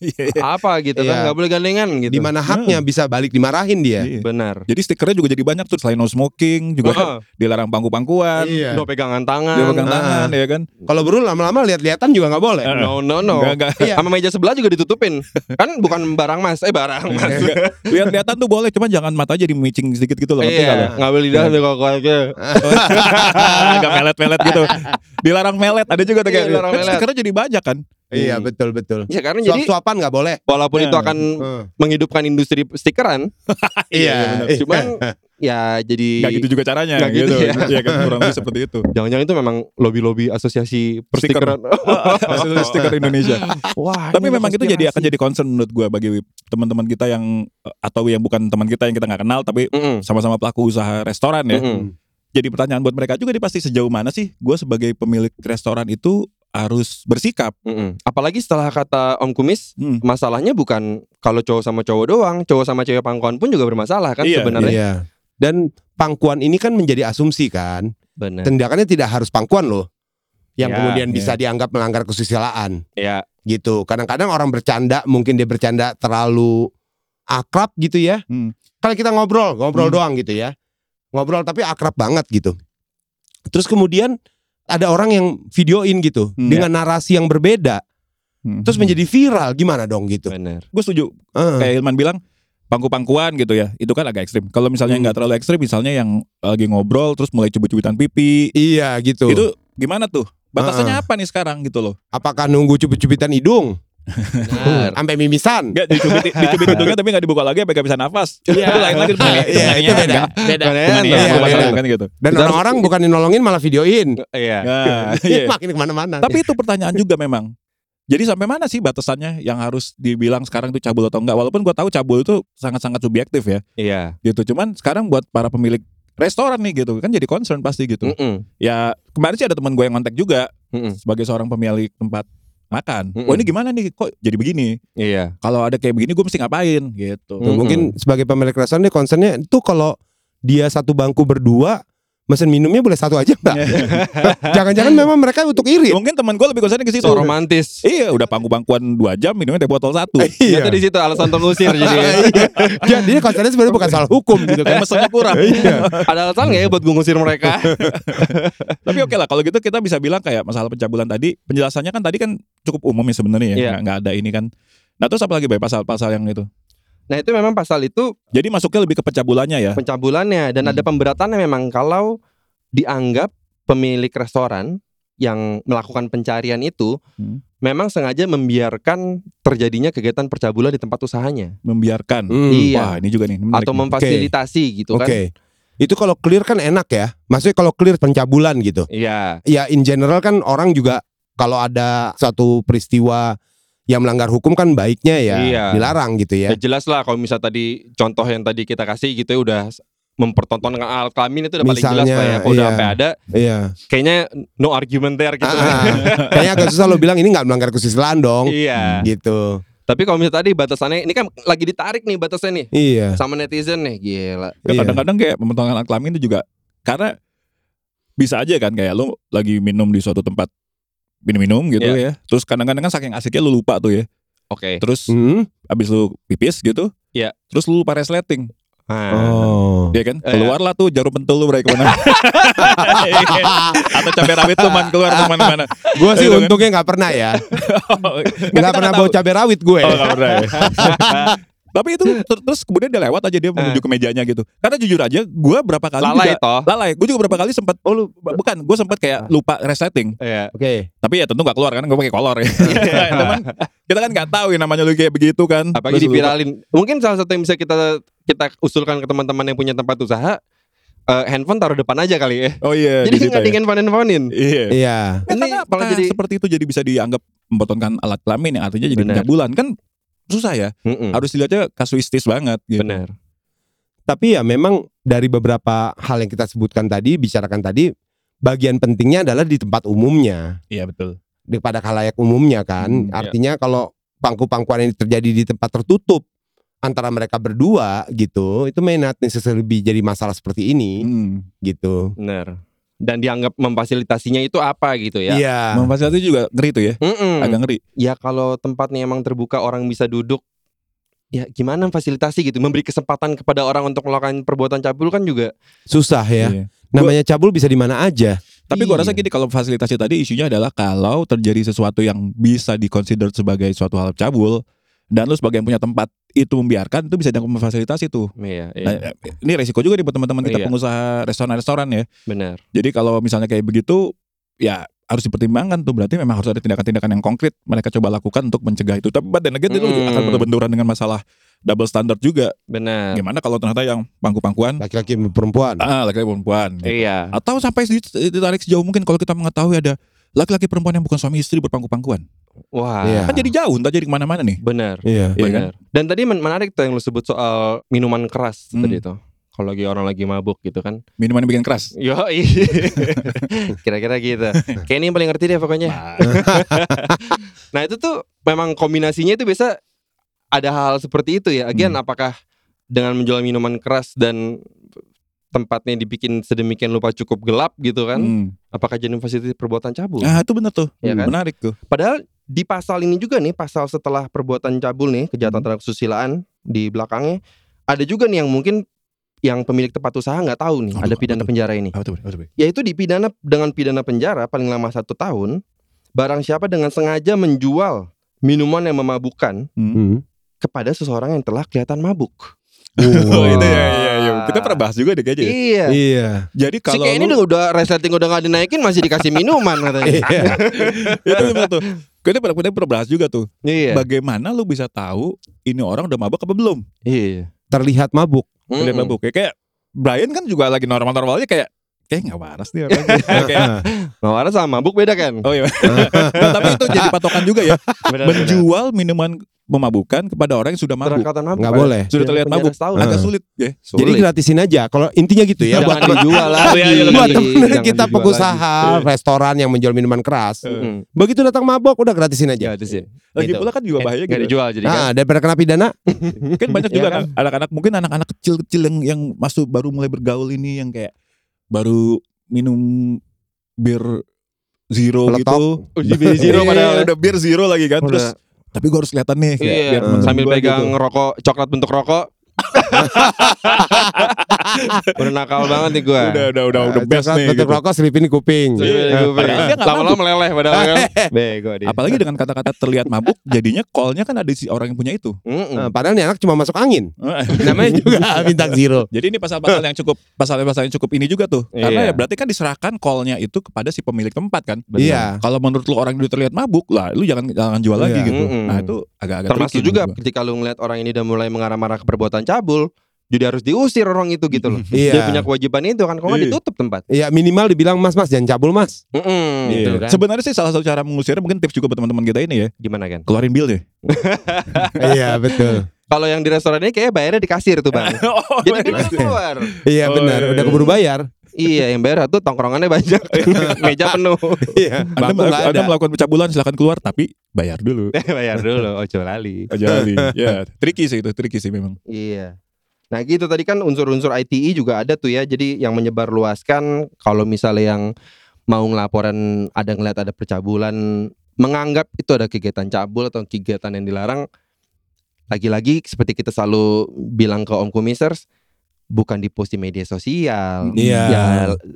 Speaker 2: iya, iya.
Speaker 1: apa gitu kan
Speaker 3: Iya.
Speaker 1: nggak boleh gandengan gitu
Speaker 3: Di mana haknya bisa balik dimarahin dia?
Speaker 2: Iya.
Speaker 1: benar
Speaker 2: jadi stikernya juga jadi banyak tuh selain no smoking juga
Speaker 1: Heeh.
Speaker 2: dilarang
Speaker 3: kan?
Speaker 2: pangku-pangkuan
Speaker 3: Iya.
Speaker 1: no pegangan
Speaker 2: dia
Speaker 1: tangan
Speaker 2: pegang tangan ya kan
Speaker 3: Kalau buru lama-lama lihat-lihatan juga nggak boleh.
Speaker 2: Eh.
Speaker 1: no no no
Speaker 2: Nggak, nggak.
Speaker 3: Iya.
Speaker 1: sama meja sebelah juga ditutupin kan bukan barang mas eh barang
Speaker 3: Iya.
Speaker 1: mas
Speaker 2: Lihat-lihatan tuh boleh, cuman jangan mata jadi micing sedikit gitu loh. ngerti nggak lo?
Speaker 1: Iya, nggak boleh lidah kalau gitu. keluarga.
Speaker 2: Agak melet-melet gitu. Dilarang melet, ada juga tuh
Speaker 1: Iya,
Speaker 2: kayak.
Speaker 1: dilarang
Speaker 2: Kan
Speaker 1: melet.
Speaker 2: stikernya jadi banyak kan.
Speaker 3: Iya betul betul.
Speaker 1: Ya karena jadi
Speaker 3: Suap-suapan nggak boleh.
Speaker 1: walaupun
Speaker 2: Iya.
Speaker 1: itu akan menghidupkan industri stikeran,
Speaker 3: Iya.
Speaker 2: benar.
Speaker 1: cuman ya jadi
Speaker 2: Gak gitu juga caranya
Speaker 1: Nggak
Speaker 2: gitu.
Speaker 1: gitu ya.
Speaker 2: Iya kan kurang lebih seperti itu.
Speaker 1: jangan-jangan itu memang lobby-lobby asosiasi
Speaker 2: Stiker.
Speaker 1: perstikeran.
Speaker 2: Asli stiker Indonesia.
Speaker 1: Hmm. Wah,
Speaker 2: Tapi
Speaker 1: ini ada
Speaker 2: memang itu jadi akan
Speaker 1: konspirasi.
Speaker 2: jadi concern menurut gua bagi teman-teman kita yang atau yang bukan teman kita yang kita nggak kenal tapi
Speaker 1: Mm-mm.
Speaker 2: sama-sama pelaku usaha restoran ya.
Speaker 1: Mm-mm.
Speaker 2: Jadi pertanyaan buat mereka juga nih pasti sejauh mana sih gua sebagai pemilik restoran itu harus bersikap.
Speaker 1: Mm-mm. Apalagi setelah kata Om Kumis,
Speaker 2: Hmm.
Speaker 1: masalahnya bukan kalau cowok sama cowok doang, cowok sama cewek pangkuan pun juga bermasalah kan
Speaker 2: Iya,
Speaker 1: sebenarnya.
Speaker 3: Iya. Dan pangkuan ini kan menjadi asumsi kan.
Speaker 1: Benar.
Speaker 3: Tindakannya tidak harus pangkuan loh. Yang
Speaker 1: Ya,
Speaker 3: kemudian
Speaker 2: ya.
Speaker 3: bisa dianggap melanggar kesusilaan
Speaker 1: Ya,
Speaker 3: gitu. Kadang-kadang orang bercanda, mungkin dia bercanda terlalu akrab gitu ya.
Speaker 2: Hmm.
Speaker 3: Kalau kita ngobrol, ngobrol
Speaker 2: Hmm.
Speaker 3: doang gitu ya. Ngobrol tapi akrab banget gitu. Terus kemudian ada orang yang videoin gitu
Speaker 2: Hmm.
Speaker 3: dengan narasi yang berbeda, terus
Speaker 2: Hmm.
Speaker 3: menjadi viral gimana dong gitu. Eh,
Speaker 1: benar.
Speaker 2: gue setuju
Speaker 3: Heeh.
Speaker 2: kayak Hilman bilang pangku-pangkuan gitu ya itu kan agak ekstrim kalau misalnya
Speaker 3: Hmm.
Speaker 2: nggak terlalu ekstrim misalnya yang lagi ngobrol terus mulai cubit-cubitan pipi
Speaker 3: Iya gitu.
Speaker 2: itu gimana tuh batasannya
Speaker 3: Ah.
Speaker 2: apa nih sekarang gitu loh
Speaker 3: Apakah nunggu cubit-cubitan hidung
Speaker 1: Benar.
Speaker 3: sampai mimisan?
Speaker 2: nggak dicubit dicubit hidungnya tapi nggak dibuka lagi sampai nggak bisa nafas
Speaker 1: Iya.
Speaker 2: itu lain lagi tuh penganiayaan,
Speaker 3: Iya, itu beda.
Speaker 2: kan?
Speaker 1: Beda.
Speaker 3: Iya,
Speaker 2: Penganiayaan, bukan
Speaker 3: beda.
Speaker 2: penganiayaan, kan gitu
Speaker 3: Dan
Speaker 1: Kita harus-
Speaker 3: orang-orang bukan nolongin malah videoin.
Speaker 1: Iya.
Speaker 2: Nah, iya.
Speaker 3: Iya. Makin kemana-mana.
Speaker 2: tapi itu pertanyaan juga memang jadi sampai mana sih batasannya yang harus dibilang sekarang itu cabul atau enggak walaupun gue tahu cabul itu sangat-sangat subjektif ya
Speaker 1: Iya.
Speaker 2: gitu cuman sekarang buat para pemilik restoran nih gitu kan jadi concern pasti gitu
Speaker 1: Mm-mm. Iya.
Speaker 2: ya kemarin sih ada teman gue yang kontak juga
Speaker 1: Mm-mm.
Speaker 2: sebagai seorang pemilik tempat makan.
Speaker 1: Mm-mm.
Speaker 2: Wah ini gimana nih kok jadi begini?
Speaker 1: Iya.
Speaker 2: Kalau ada kayak begini gue mesti ngapain gitu.
Speaker 1: Mm.
Speaker 3: Mungkin sebagai pemilik restoran dia concernnya itu kalau dia satu bangku berdua mesin minumnya boleh satu
Speaker 1: Iya.
Speaker 3: aja enggak? Jangan-jangan memang mereka untuk iri.
Speaker 2: Mungkin teman gue lebih concernnya ke situ.
Speaker 1: So romantis.
Speaker 2: Iya udah pangku-pangkuan 2 jam minumnya teh botol satu.
Speaker 3: Iya.
Speaker 2: Iya.
Speaker 1: Ternyata di situ alasan terusir jadi. kan.
Speaker 3: Jadi dia concernnya sebenarnya bukan salah hukum gitu kan.
Speaker 2: Kayak mesennya kurang.
Speaker 1: Ada alasan nggak ya buat gue ngusir mereka?
Speaker 2: Tapi oke lah kalau gitu kita bisa bilang kayak masalah pencabulan tadi penjelasannya kan tadi kan cukup umum ya sebenarnya ya.
Speaker 1: Iya.
Speaker 2: Nggak- Nggak ada ini kan. Nah terus apa lagi Bay pasal-pasal yang itu?
Speaker 1: Nah itu memang pasal itu
Speaker 2: Jadi masuknya lebih ke pencabulannya
Speaker 3: Eh.
Speaker 2: ya.
Speaker 1: pencabulannya dan ada
Speaker 2: Hmm.
Speaker 1: pemberatannya memang kalau dianggap pemilik restoran yang melakukan pencarian itu
Speaker 2: Hmm.
Speaker 1: memang sengaja membiarkan terjadinya kegiatan percabulan di tempat usahanya
Speaker 2: membiarkan.
Speaker 3: Hmm.
Speaker 1: Iya.
Speaker 2: Wah, ini juga nih. menarik
Speaker 1: atau
Speaker 2: nih.
Speaker 1: memfasilitasi gitu
Speaker 3: Oke.
Speaker 1: kan.
Speaker 3: Itu kalau clear kan enak ya. Maksudnya kalau clear pencabulan gitu.
Speaker 1: Iya.
Speaker 3: Ya in general kan orang juga kalau ada satu peristiwa yang melanggar hukum kan baiknya ya
Speaker 1: Iya.
Speaker 3: dilarang gitu
Speaker 1: Ya
Speaker 3: ya.
Speaker 1: jelas lah kalau misal tadi contoh yang tadi kita kasih gitu ya udah mempertontonkan alat kelamin itu udah paling jelas
Speaker 3: Misalnya,
Speaker 1: lah ya. Kalau udah
Speaker 3: iya.
Speaker 1: sampai ada
Speaker 3: Iya.
Speaker 1: kayaknya no argument there gitu.
Speaker 3: Ah, ah. Kayaknya agak susah lo bilang ini nggak melanggar kesusilaan dong.
Speaker 1: iya.
Speaker 3: Gitu.
Speaker 1: Tapi kalau misal tadi batasannya ini kan lagi ditarik nih batasnya nih
Speaker 2: Eh.
Speaker 3: Iya.
Speaker 1: sama netizen nih. Gila.
Speaker 2: Ya,
Speaker 3: Iya.
Speaker 2: kadang-kadang kayak pemotongan alat kelamin itu juga karena bisa aja kan kayak lu lagi minum di suatu tempat minum-minum gitu ya. Terus kadang-kadang kan saking asiknya lu lupa tuh ya.
Speaker 1: Oke.
Speaker 2: Terus
Speaker 3: Hmm.
Speaker 2: abis lu pipis gitu.
Speaker 1: Iya.
Speaker 2: Terus lu lupa resleting,
Speaker 1: Ah.
Speaker 2: Nah.
Speaker 3: Oh.
Speaker 2: ya kan?
Speaker 1: Iya.
Speaker 2: Keluarlah tuh jarum pentul lu berarti kemana. Atau cabai rawit tuh man keluar kemana-mana.
Speaker 3: Gue sih
Speaker 2: Gitu kan.
Speaker 3: untungnya nggak pernah ya.
Speaker 2: Nggak,
Speaker 3: Nggak
Speaker 2: kita
Speaker 3: pernah
Speaker 2: nggak
Speaker 3: bawa
Speaker 2: tahu.
Speaker 3: cabai rawit gue.
Speaker 2: Oh, nggak pernah ya. Tapi itu ter- terus kemudian dia lewat aja dia menuju ke mejanya gitu. Karena jujur aja, gue berapa kali juga-
Speaker 1: Lalai toh.
Speaker 2: lalai. Gue juga berapa kali sempat oh lu bukan, gue sempat
Speaker 1: Ah.
Speaker 2: kayak lupa resetting.
Speaker 1: Iya.
Speaker 3: Oke.
Speaker 2: Tapi ya tentu gak keluar kan gue pakai kolor
Speaker 1: Ah.
Speaker 2: ya. Teman, kita kan gak tahu ya namanya lu kayak begitu kan.
Speaker 1: apalagi
Speaker 2: Terus lupa.
Speaker 1: dipiralin mungkin salah satu yang bisa kita kita usulkan ke teman-teman yang punya tempat usaha eh, handphone taruh depan aja kali ya
Speaker 2: Oh iya.
Speaker 1: jadi
Speaker 2: di situ
Speaker 1: nggak
Speaker 2: ya.
Speaker 1: di handphone handphonein
Speaker 2: Iya.
Speaker 3: Iya.
Speaker 2: Ya,
Speaker 1: Ini
Speaker 2: karena
Speaker 1: malah
Speaker 2: apa?
Speaker 1: jadi-
Speaker 2: seperti itu jadi bisa dianggap mempotongan alat kelamin yang artinya jadi
Speaker 1: Benar.
Speaker 2: pencabulan kan susah ya.
Speaker 1: Hmm.
Speaker 2: Harus dilihatnya kasuistis banget gitu.
Speaker 1: benar
Speaker 3: Tapi ya memang dari beberapa hal yang kita sebutkan tadi, bicarakan tadi, bagian pentingnya adalah di tempat umumnya,
Speaker 2: Iya betul.
Speaker 3: di- pada khalayak umumnya kan.
Speaker 2: Hmm, iya.
Speaker 3: Artinya kalau pangku-pangkuan ini terjadi di tempat tertutup antara mereka berdua gitu, itu may not necessarily be jadi masalah
Speaker 1: Iya.
Speaker 3: seperti ini
Speaker 2: Hmm.
Speaker 3: gitu.
Speaker 1: benar dan dianggap memfasilitasinya itu apa gitu ya
Speaker 3: Iya.
Speaker 2: Memfasilitasi juga ngeri tuh ya.
Speaker 1: Mm-mm.
Speaker 2: Agak ngeri.
Speaker 1: ya kalau tempatnya emang terbuka orang bisa duduk ya gimana fasilitasi gitu memberi kesempatan kepada orang untuk melakukan perbuatan cabul kan juga
Speaker 3: Susah ya.
Speaker 2: Iya.
Speaker 3: Namanya cabul bisa di mana aja.
Speaker 2: Tapi
Speaker 1: Iya.
Speaker 2: gua rasa gini kalau fasilitasnya tadi isunya adalah kalau terjadi sesuatu yang bisa dikonsider sebagai suatu hal cabul dan lu sebagai yang punya tempat itu membiarkan itu bisa dianggap memfasilitasi tuh.
Speaker 1: iya, iya.
Speaker 2: Nah, ini resiko juga nih buat teman-teman kita
Speaker 1: Iya.
Speaker 2: pengusaha restoran-restoran ya.
Speaker 1: benar
Speaker 2: Jadi kalau misalnya kayak begitu ya harus dipertimbangkan tuh berarti memang harus ada tindakan-tindakan yang konkret mereka coba lakukan untuk mencegah itu. Tapi pada negara itu
Speaker 1: Mm.
Speaker 2: akan berbenturan dengan masalah double standard juga.
Speaker 1: benar
Speaker 2: Gimana kalau ternyata yang pangku-pangkuan
Speaker 3: Laki-laki dan perempuan.
Speaker 2: ah laki-laki perempuan.
Speaker 1: iya
Speaker 2: Atau sampai sedikit- ditarik sejauh mungkin kalau kita mengetahui ada laki-laki perempuan yang bukan suami istri berpangku-pangkuan.
Speaker 1: wah
Speaker 3: Iya.
Speaker 2: Kan jadi jauh, entah jadi kemana-mana nih.
Speaker 1: benar
Speaker 3: Iya.
Speaker 2: Iya kan?
Speaker 1: Benar. Dan tadi men- menarik tuh yang lu sebut soal minuman keras
Speaker 2: Hmm.
Speaker 1: tadi tuh. Kalau lagi orang lagi mabuk gitu kan.
Speaker 2: Minuman yang bikin keras.
Speaker 1: Yo, kira-kira gitu. Kayak ini yang paling ngerti deh pokoknya. Nah itu tuh memang kombinasinya itu biasa ada hal seperti itu ya.
Speaker 2: Hmm.
Speaker 1: Again, apakah dengan menjual minuman keras dan tempatnya dibikin sedemikian lupa cukup gelap gitu kan?
Speaker 2: Hmm.
Speaker 1: Apakah jadi fasilitas perbuatan cabul?
Speaker 2: Nah itu bener tuh.
Speaker 1: Iya kan?
Speaker 2: Menarik tuh.
Speaker 1: Padahal di pasal ini juga nih, pasal setelah perbuatan cabul nih, kejahatan
Speaker 2: Hmm.
Speaker 1: terhadap kesusilaan di belakangnya, ada juga nih yang mungkin yang pemilik tempat usaha nggak tahu nih
Speaker 2: Aduh,
Speaker 1: ada
Speaker 2: apa
Speaker 1: pidana
Speaker 2: tuh?
Speaker 1: penjara ini.
Speaker 2: Apa tuh? Apa tuh?
Speaker 1: Yaitu dipidana dengan pidana penjara paling lama satu tahun, barang siapa dengan sengaja menjual minuman yang memabukkan
Speaker 3: Hmm.
Speaker 1: kepada seseorang yang telah kelihatan mabuk.
Speaker 2: Oh, itu ya, ya, ya. Kita pernah bahas juga deh kayaknya.
Speaker 1: Ah.
Speaker 2: ya.
Speaker 1: Iya.
Speaker 3: Iya.
Speaker 2: Jadi
Speaker 1: Si
Speaker 2: kalau
Speaker 1: kayak ini
Speaker 2: lu-
Speaker 1: udah, udah resleting udah gak dinaikin masih dikasih minuman katanya.
Speaker 3: Iya.
Speaker 2: itu bener tuh. Kita pernah kita pernah bahas juga tuh.
Speaker 1: Iya.
Speaker 2: Bagaimana lu bisa tahu ini orang udah mabuk apa belum?
Speaker 1: Iya.
Speaker 3: Terlihat mabuk.
Speaker 2: Udah
Speaker 1: Mm-mm.
Speaker 2: mabuk ya. Kayak Brian kan juga lagi normal-normalnya kayak kayak nggak waras nih orang. Kayak,
Speaker 1: Mawar Hmm. sama mabuk beda kan?
Speaker 2: oh iya. Nah, tapi itu jadi patokan juga ya. Menjual minuman memabukan kepada orang yang sudah mabuk.
Speaker 1: Terkata mabuk.
Speaker 3: Nggak boleh.
Speaker 2: sudah terlihat
Speaker 1: Penjara
Speaker 2: mabuk
Speaker 1: setahun.
Speaker 2: agak
Speaker 3: Eh.
Speaker 2: sulit ya
Speaker 3: Jadi gratisin aja. Kalau intinya gitu ya.
Speaker 1: jangan
Speaker 3: buat teman-
Speaker 1: dijual lagi.
Speaker 2: Iya, iya, iya,
Speaker 3: buat
Speaker 2: Lagi,
Speaker 3: temen
Speaker 1: Jangan
Speaker 3: kita
Speaker 1: dijual
Speaker 3: pengusaha
Speaker 2: lagi. Iya.
Speaker 3: restoran yang menjual minuman keras.
Speaker 1: lagi. Mm.
Speaker 3: Begitu datang mabok udah gratisin
Speaker 1: Ya,
Speaker 3: aja.
Speaker 1: di sini.
Speaker 2: lagi
Speaker 1: gitu.
Speaker 2: pula kan juga bahaya
Speaker 1: Nggak
Speaker 2: gitu
Speaker 1: dijual Ya jadi kan.
Speaker 3: Nah, daripada kena pidana,
Speaker 2: kan banyak
Speaker 3: Iya
Speaker 2: juga
Speaker 3: kan?
Speaker 2: anak- anak-anak mungkin anak-anak kecil-kecil yang yang masuk baru mulai bergaul ini yang kayak baru minum bir zero
Speaker 3: Meletok.
Speaker 2: gitu
Speaker 1: Oh, jadi beli zero
Speaker 2: Iya,
Speaker 1: padahal. ya.
Speaker 2: udah bir zero lagi kan terus
Speaker 1: Udah.
Speaker 2: tapi gue harus kelihatan nih kayak
Speaker 1: Iya,
Speaker 2: biar temen
Speaker 1: sambil
Speaker 2: gua
Speaker 1: pegang
Speaker 2: gitu.
Speaker 1: rokok coklat bentuk rokok. Udah nakal banget nih gue.
Speaker 2: udah udah udah udah
Speaker 3: Eh,
Speaker 2: best
Speaker 3: terus
Speaker 2: nih
Speaker 3: betul
Speaker 2: gitu.
Speaker 3: rokok selipin di kuping. Eh,
Speaker 2: Padahal dia nggak
Speaker 1: Lama-lama meleleh padahal kan. Bego dia.
Speaker 2: Apalagi dengan kata-kata terlihat mabuk, jadinya call-nya kan ada si orang yang punya itu.
Speaker 1: Mm-mm.
Speaker 3: Nah, padahal nih anak cuma masuk angin.
Speaker 2: Namanya
Speaker 3: juga bintang zero.
Speaker 2: Jadi ini pasal-pasal yang cukup pasal-pasal yang cukup ini juga tuh.
Speaker 1: Iya.
Speaker 2: Karena ya berarti kan diserahkan call-nya itu kepada si pemilik tempat kan.
Speaker 1: Benar.
Speaker 3: Iya.
Speaker 2: Kalau menurut lu orang itu terlihat mabuk lah, lu jangan jangan jual lagi
Speaker 3: Iya.
Speaker 2: gitu.
Speaker 1: Mm-mm.
Speaker 2: Nah itu agak-agak
Speaker 1: Hmm. Termasuk
Speaker 2: tricky
Speaker 1: juga
Speaker 2: menurut gua.
Speaker 1: ketika lu ngeliat orang ini udah mulai mengarah-marah ke perbuatan cabul, jadi harus diusir orang itu gitu loh. Dia punya
Speaker 3: Iya.
Speaker 1: kewajiban itu kan kalau nggak
Speaker 2: Iya.
Speaker 1: ditutup tempat.
Speaker 3: Iya minimal dibilang mas mas jangan cabul mas.
Speaker 1: Mm-mm,
Speaker 2: Iya.
Speaker 1: gitu kan.
Speaker 2: Sebenarnya sih salah satu cara mengusirnya mungkin tips juga buat teman-teman kita ini ya,
Speaker 1: Gimana kan?
Speaker 2: keluarin bill ya.
Speaker 3: Iya betul.
Speaker 1: Kalau yang di restoran ini kayaknya bayarnya di kasir tuh bang.
Speaker 2: Oh,
Speaker 1: Jadi dia
Speaker 2: bener.
Speaker 1: bisa keluar.
Speaker 3: Iya
Speaker 2: Oh, iya,
Speaker 3: benar. Udah
Speaker 2: iya.
Speaker 3: keburu bayar.
Speaker 1: iya yang bayar tuh tongkrongannya banyak, meja penuh.
Speaker 3: Iya.
Speaker 2: anda,
Speaker 3: Bangku nggak
Speaker 2: melakukan, anda
Speaker 3: ada.
Speaker 2: melakukan pencabulan silahkan keluar tapi bayar dulu.
Speaker 1: Iya, bayar dulu, ojo lali.
Speaker 2: Aja Ali. Ya, tricky sih itu, tricky sih memang.
Speaker 1: Iya. Nah gitu tadi kan unsur-unsur ITI juga ada tuh ya. Jadi yang menyebar luaskan kalau misalnya yang mau ngelaporan ada ngeliat ada percabulan menganggap itu ada kegiatan cabul atau kegiatan yang dilarang lagi-lagi seperti kita selalu bilang ke Om Kumisers bukan di post di media sosial
Speaker 3: Iya.
Speaker 1: ya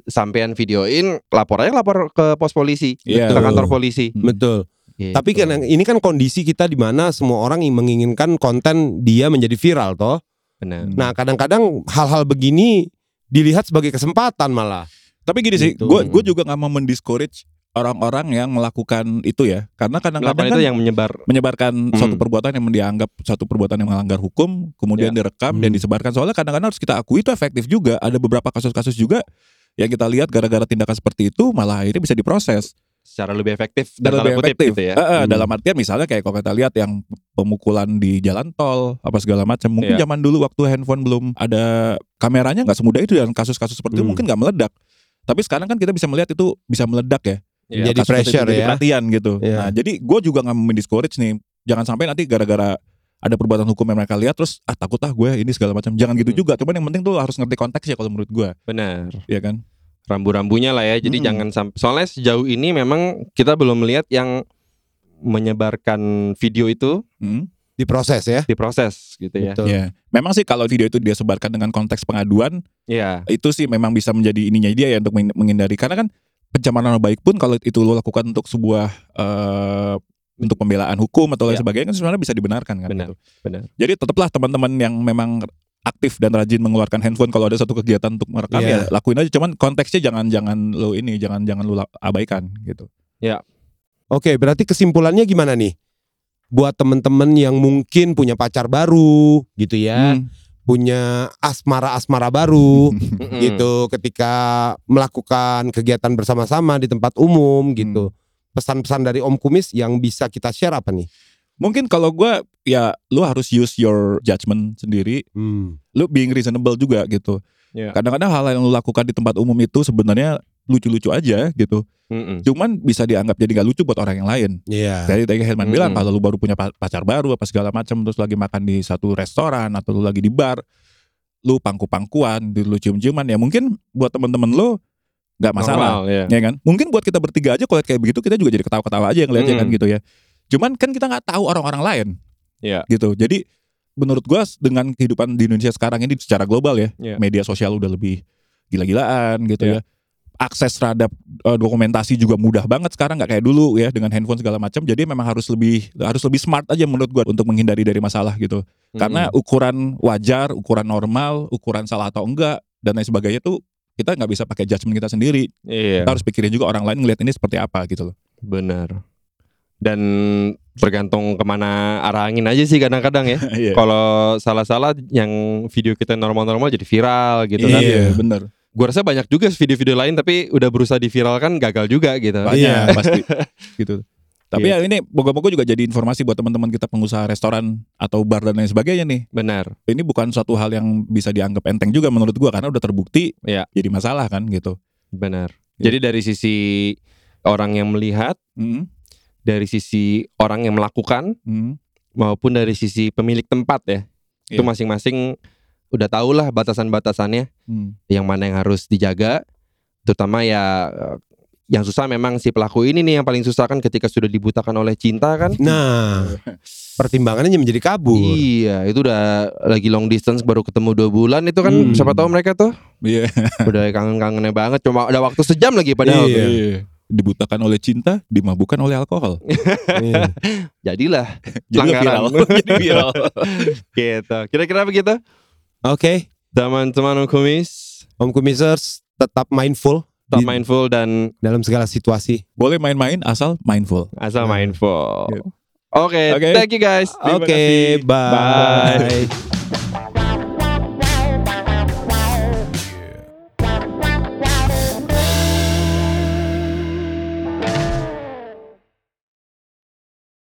Speaker 1: sampean videoin lapor aja lapor ke pos polisi
Speaker 2: Iya.
Speaker 1: ke kantor polisi Gitu.
Speaker 3: Betul. Tapi kan
Speaker 2: Gitu.
Speaker 3: yang- ini kan kondisi kita di mana semua orang yang menginginkan konten dia menjadi viral toh.
Speaker 1: benar
Speaker 3: Nah, kadang-kadang hal-hal begini dilihat sebagai kesempatan malah.
Speaker 2: Tapi gini sih,
Speaker 3: Gitu.
Speaker 2: gue gue juga nggak mau mendiscourage orang-orang yang melakukan itu ya, karena kadang-kadang
Speaker 1: melakukan
Speaker 2: kan
Speaker 1: itu yang menyebar
Speaker 2: menyebarkan
Speaker 1: Hmm.
Speaker 2: suatu perbuatan yang dianggap suatu perbuatan yang melanggar hukum, kemudian
Speaker 1: Ya.
Speaker 2: direkam dan
Speaker 3: Hmm.
Speaker 2: disebarkan. Soalnya kadang-kadang harus kita akui itu efektif juga. Ada beberapa kasus-kasus juga yang kita lihat gara-gara tindakan seperti itu malah akhirnya bisa diproses
Speaker 1: secara lebih efektif
Speaker 2: dan
Speaker 1: tanda
Speaker 2: lebih
Speaker 1: kutip
Speaker 2: efektif.
Speaker 1: gitu ya
Speaker 2: Eh, eh,
Speaker 3: Hmm.
Speaker 2: Dalam artian misalnya kayak kalau kita lihat yang pemukulan di jalan tol apa segala macam, mungkin
Speaker 1: Iya.
Speaker 2: zaman dulu waktu handphone belum ada kameranya nggak semudah itu dan kasus-kasus seperti itu
Speaker 3: Hmm.
Speaker 2: mungkin nggak meledak. Tapi sekarang kan kita bisa melihat itu bisa meledak ya.
Speaker 1: Iya.
Speaker 3: Jadi
Speaker 2: Kasus-kasus itu
Speaker 3: pressure
Speaker 2: jadi
Speaker 3: ya.
Speaker 2: perhatian gitu.
Speaker 3: Iya.
Speaker 2: Nah, jadi gue juga nggak mendiscourage nih. Jangan sampai nanti gara-gara ada perbuatan hukum yang mereka lihat terus ah takut ah gue ini segala macam. Jangan gitu
Speaker 1: Hmm.
Speaker 2: juga. Cuman yang penting tuh harus ngerti konteksnya kalau menurut gue,
Speaker 3: Hmm.
Speaker 1: benar
Speaker 2: ya kan?
Speaker 1: rambu-rambunya lah ya. Jadi
Speaker 2: Mm-mm.
Speaker 1: jangan sampai soalnya sejauh ini memang kita belum melihat yang menyebarkan video itu
Speaker 2: Hmm.
Speaker 3: Diproses ya.
Speaker 1: diproses gitu ya.
Speaker 3: Betul.
Speaker 2: Iya. Memang sih kalau video itu dia sebarkan dengan konteks pengaduan
Speaker 1: Iya.
Speaker 2: itu sih memang bisa menjadi ininya dia ya untuk menghin- menghindari karena kan pencemaran nama baik pun kalau itu lo lakukan untuk sebuah eh, untuk pembelaan hukum atau
Speaker 3: Iya.
Speaker 2: lain
Speaker 1: Ya.
Speaker 2: sebagainya kan sebenarnya bisa dibenarkan kan
Speaker 1: Benar,
Speaker 2: gitu.
Speaker 1: benar.
Speaker 2: Jadi tetaplah teman-teman yang memang aktif dan rajin mengeluarkan handphone kalau ada satu kegiatan untuk merekam
Speaker 3: Iya.
Speaker 2: ya lakuin aja cuman konteksnya jangan jangan lo ini jangan jangan lo abaikan gitu.
Speaker 3: Oke, berarti kesimpulannya gimana nih? Buat temen-temen yang mungkin punya pacar baru gitu ya,
Speaker 2: Hmm.
Speaker 3: punya asmara-asmara baru
Speaker 1: Mm-mm.
Speaker 3: gitu ketika melakukan kegiatan bersama-sama di tempat umum gitu. Pesan-pesan dari Om Kumis yang bisa kita share apa nih?
Speaker 2: Mungkin kalau gua ya lo harus use your judgment sendiri lu being reasonable juga gitu.
Speaker 3: Ya.
Speaker 1: Iya.
Speaker 2: Kadang-kadang hal yang lu lakukan di tempat umum itu sebenarnya lucu-lucu aja gitu.
Speaker 1: Mm-mm.
Speaker 2: Cuman bisa dianggap jadi gak lucu buat orang yang lain.
Speaker 3: Iya.
Speaker 2: Jadi tadi Herman
Speaker 1: Mm-mm.
Speaker 2: bilang kalau lu baru punya pa- pacar baru apa segala macam terus lagi makan di satu restoran atau lu lagi di bar, lu pangku-pangkuan, lu cium-ciuman ya mungkin buat temen-temen lu nggak masalah.
Speaker 1: Normal, iya.
Speaker 2: Ya kan? Mungkin buat kita bertiga aja kalau lihat kayak begitu kita juga jadi ketawa-ketawa aja yang lihatnya kan
Speaker 1: Mm.
Speaker 2: gitu ya. Cuman kan kita nggak tahu orang-orang lain.
Speaker 1: Iya.
Speaker 2: Gitu. Jadi menurut gua dengan kehidupan di Indonesia sekarang ini secara global ya,
Speaker 1: Iya.
Speaker 2: media sosial udah lebih gila-gilaan gitu
Speaker 1: Iya.
Speaker 2: ya. Akses terhadap eh, dokumentasi juga mudah banget sekarang nggak kayak dulu ya dengan handphone segala macam. Jadi memang harus lebih harus lebih smart aja menurut gua untuk menghindari dari masalah gitu.
Speaker 1: Mm-mm.
Speaker 2: Karena ukuran wajar, ukuran normal, ukuran salah atau enggak dan lain sebagainya tuh kita nggak bisa pakai judgement kita sendiri
Speaker 1: iya,
Speaker 2: kita harus pikirin juga orang lain ngelihat ini seperti apa gitu loh.
Speaker 1: benar. Dan tergantung kemana arah angin aja sih kadang-kadang ya.
Speaker 2: Iya.
Speaker 1: Kalau salah-salah yang video kita normal-normal jadi viral gitu kan.
Speaker 2: Iya, bener.
Speaker 1: Gua rasa banyak juga video-video lain tapi udah berusaha diviralkan gagal juga gitu.
Speaker 2: Banyak
Speaker 3: Iya.
Speaker 2: pasti gitu. Tapi ya ini moga-moga juga jadi informasi buat teman-teman kita pengusaha restoran atau bar dan lain sebagainya nih.
Speaker 1: Benar.
Speaker 2: Ini bukan suatu hal yang bisa dianggap enteng juga menurut gua karena udah terbukti
Speaker 1: Iya.
Speaker 2: jadi masalah kan gitu.
Speaker 1: Benar.
Speaker 2: Iya.
Speaker 1: Jadi dari sisi orang yang melihat,
Speaker 2: Mm,
Speaker 1: dari sisi orang yang melakukan
Speaker 2: mm.
Speaker 1: maupun dari sisi pemilik tempat ya. Itu
Speaker 2: Iya.
Speaker 1: masing-masing udah tau lah batasan-batasannya,
Speaker 2: Hmm.
Speaker 1: yang mana yang harus dijaga, terutama ya eh, Yang susah memang si pelaku ini nih yang paling susah kan ketika sudah dibutakan oleh cinta kan.
Speaker 3: Nah, pertimbangannya menjadi kabur.
Speaker 1: Iya, itu udah lagi long distance baru ketemu dua bulan itu kan
Speaker 3: Hmm.
Speaker 1: siapa tahu mereka tuh
Speaker 2: Iya.
Speaker 1: udah kangen-kangennya banget cuma ada waktu sejam lagi padahal.
Speaker 3: Iya.
Speaker 2: Dibutakan oleh cinta, dimabukkan oleh alkohol.
Speaker 3: Iya.
Speaker 1: Jadilah
Speaker 2: Jadi
Speaker 1: Pelanggaran.
Speaker 2: viral. Jadi viral.
Speaker 1: gitu. Kira-kira begitu.
Speaker 3: Oke,
Speaker 1: Teman-teman kumis,
Speaker 3: Om Kumisers tetap mindful
Speaker 1: tetap
Speaker 3: di-
Speaker 1: mindful dan
Speaker 3: dalam segala situasi.
Speaker 2: Boleh main-main asal mindful.
Speaker 1: asal mindful.
Speaker 2: Iya.
Speaker 1: Oke,
Speaker 2: Oke.
Speaker 1: thank you guys. Terima
Speaker 3: Oke,
Speaker 1: kasih. Bye.
Speaker 3: bye.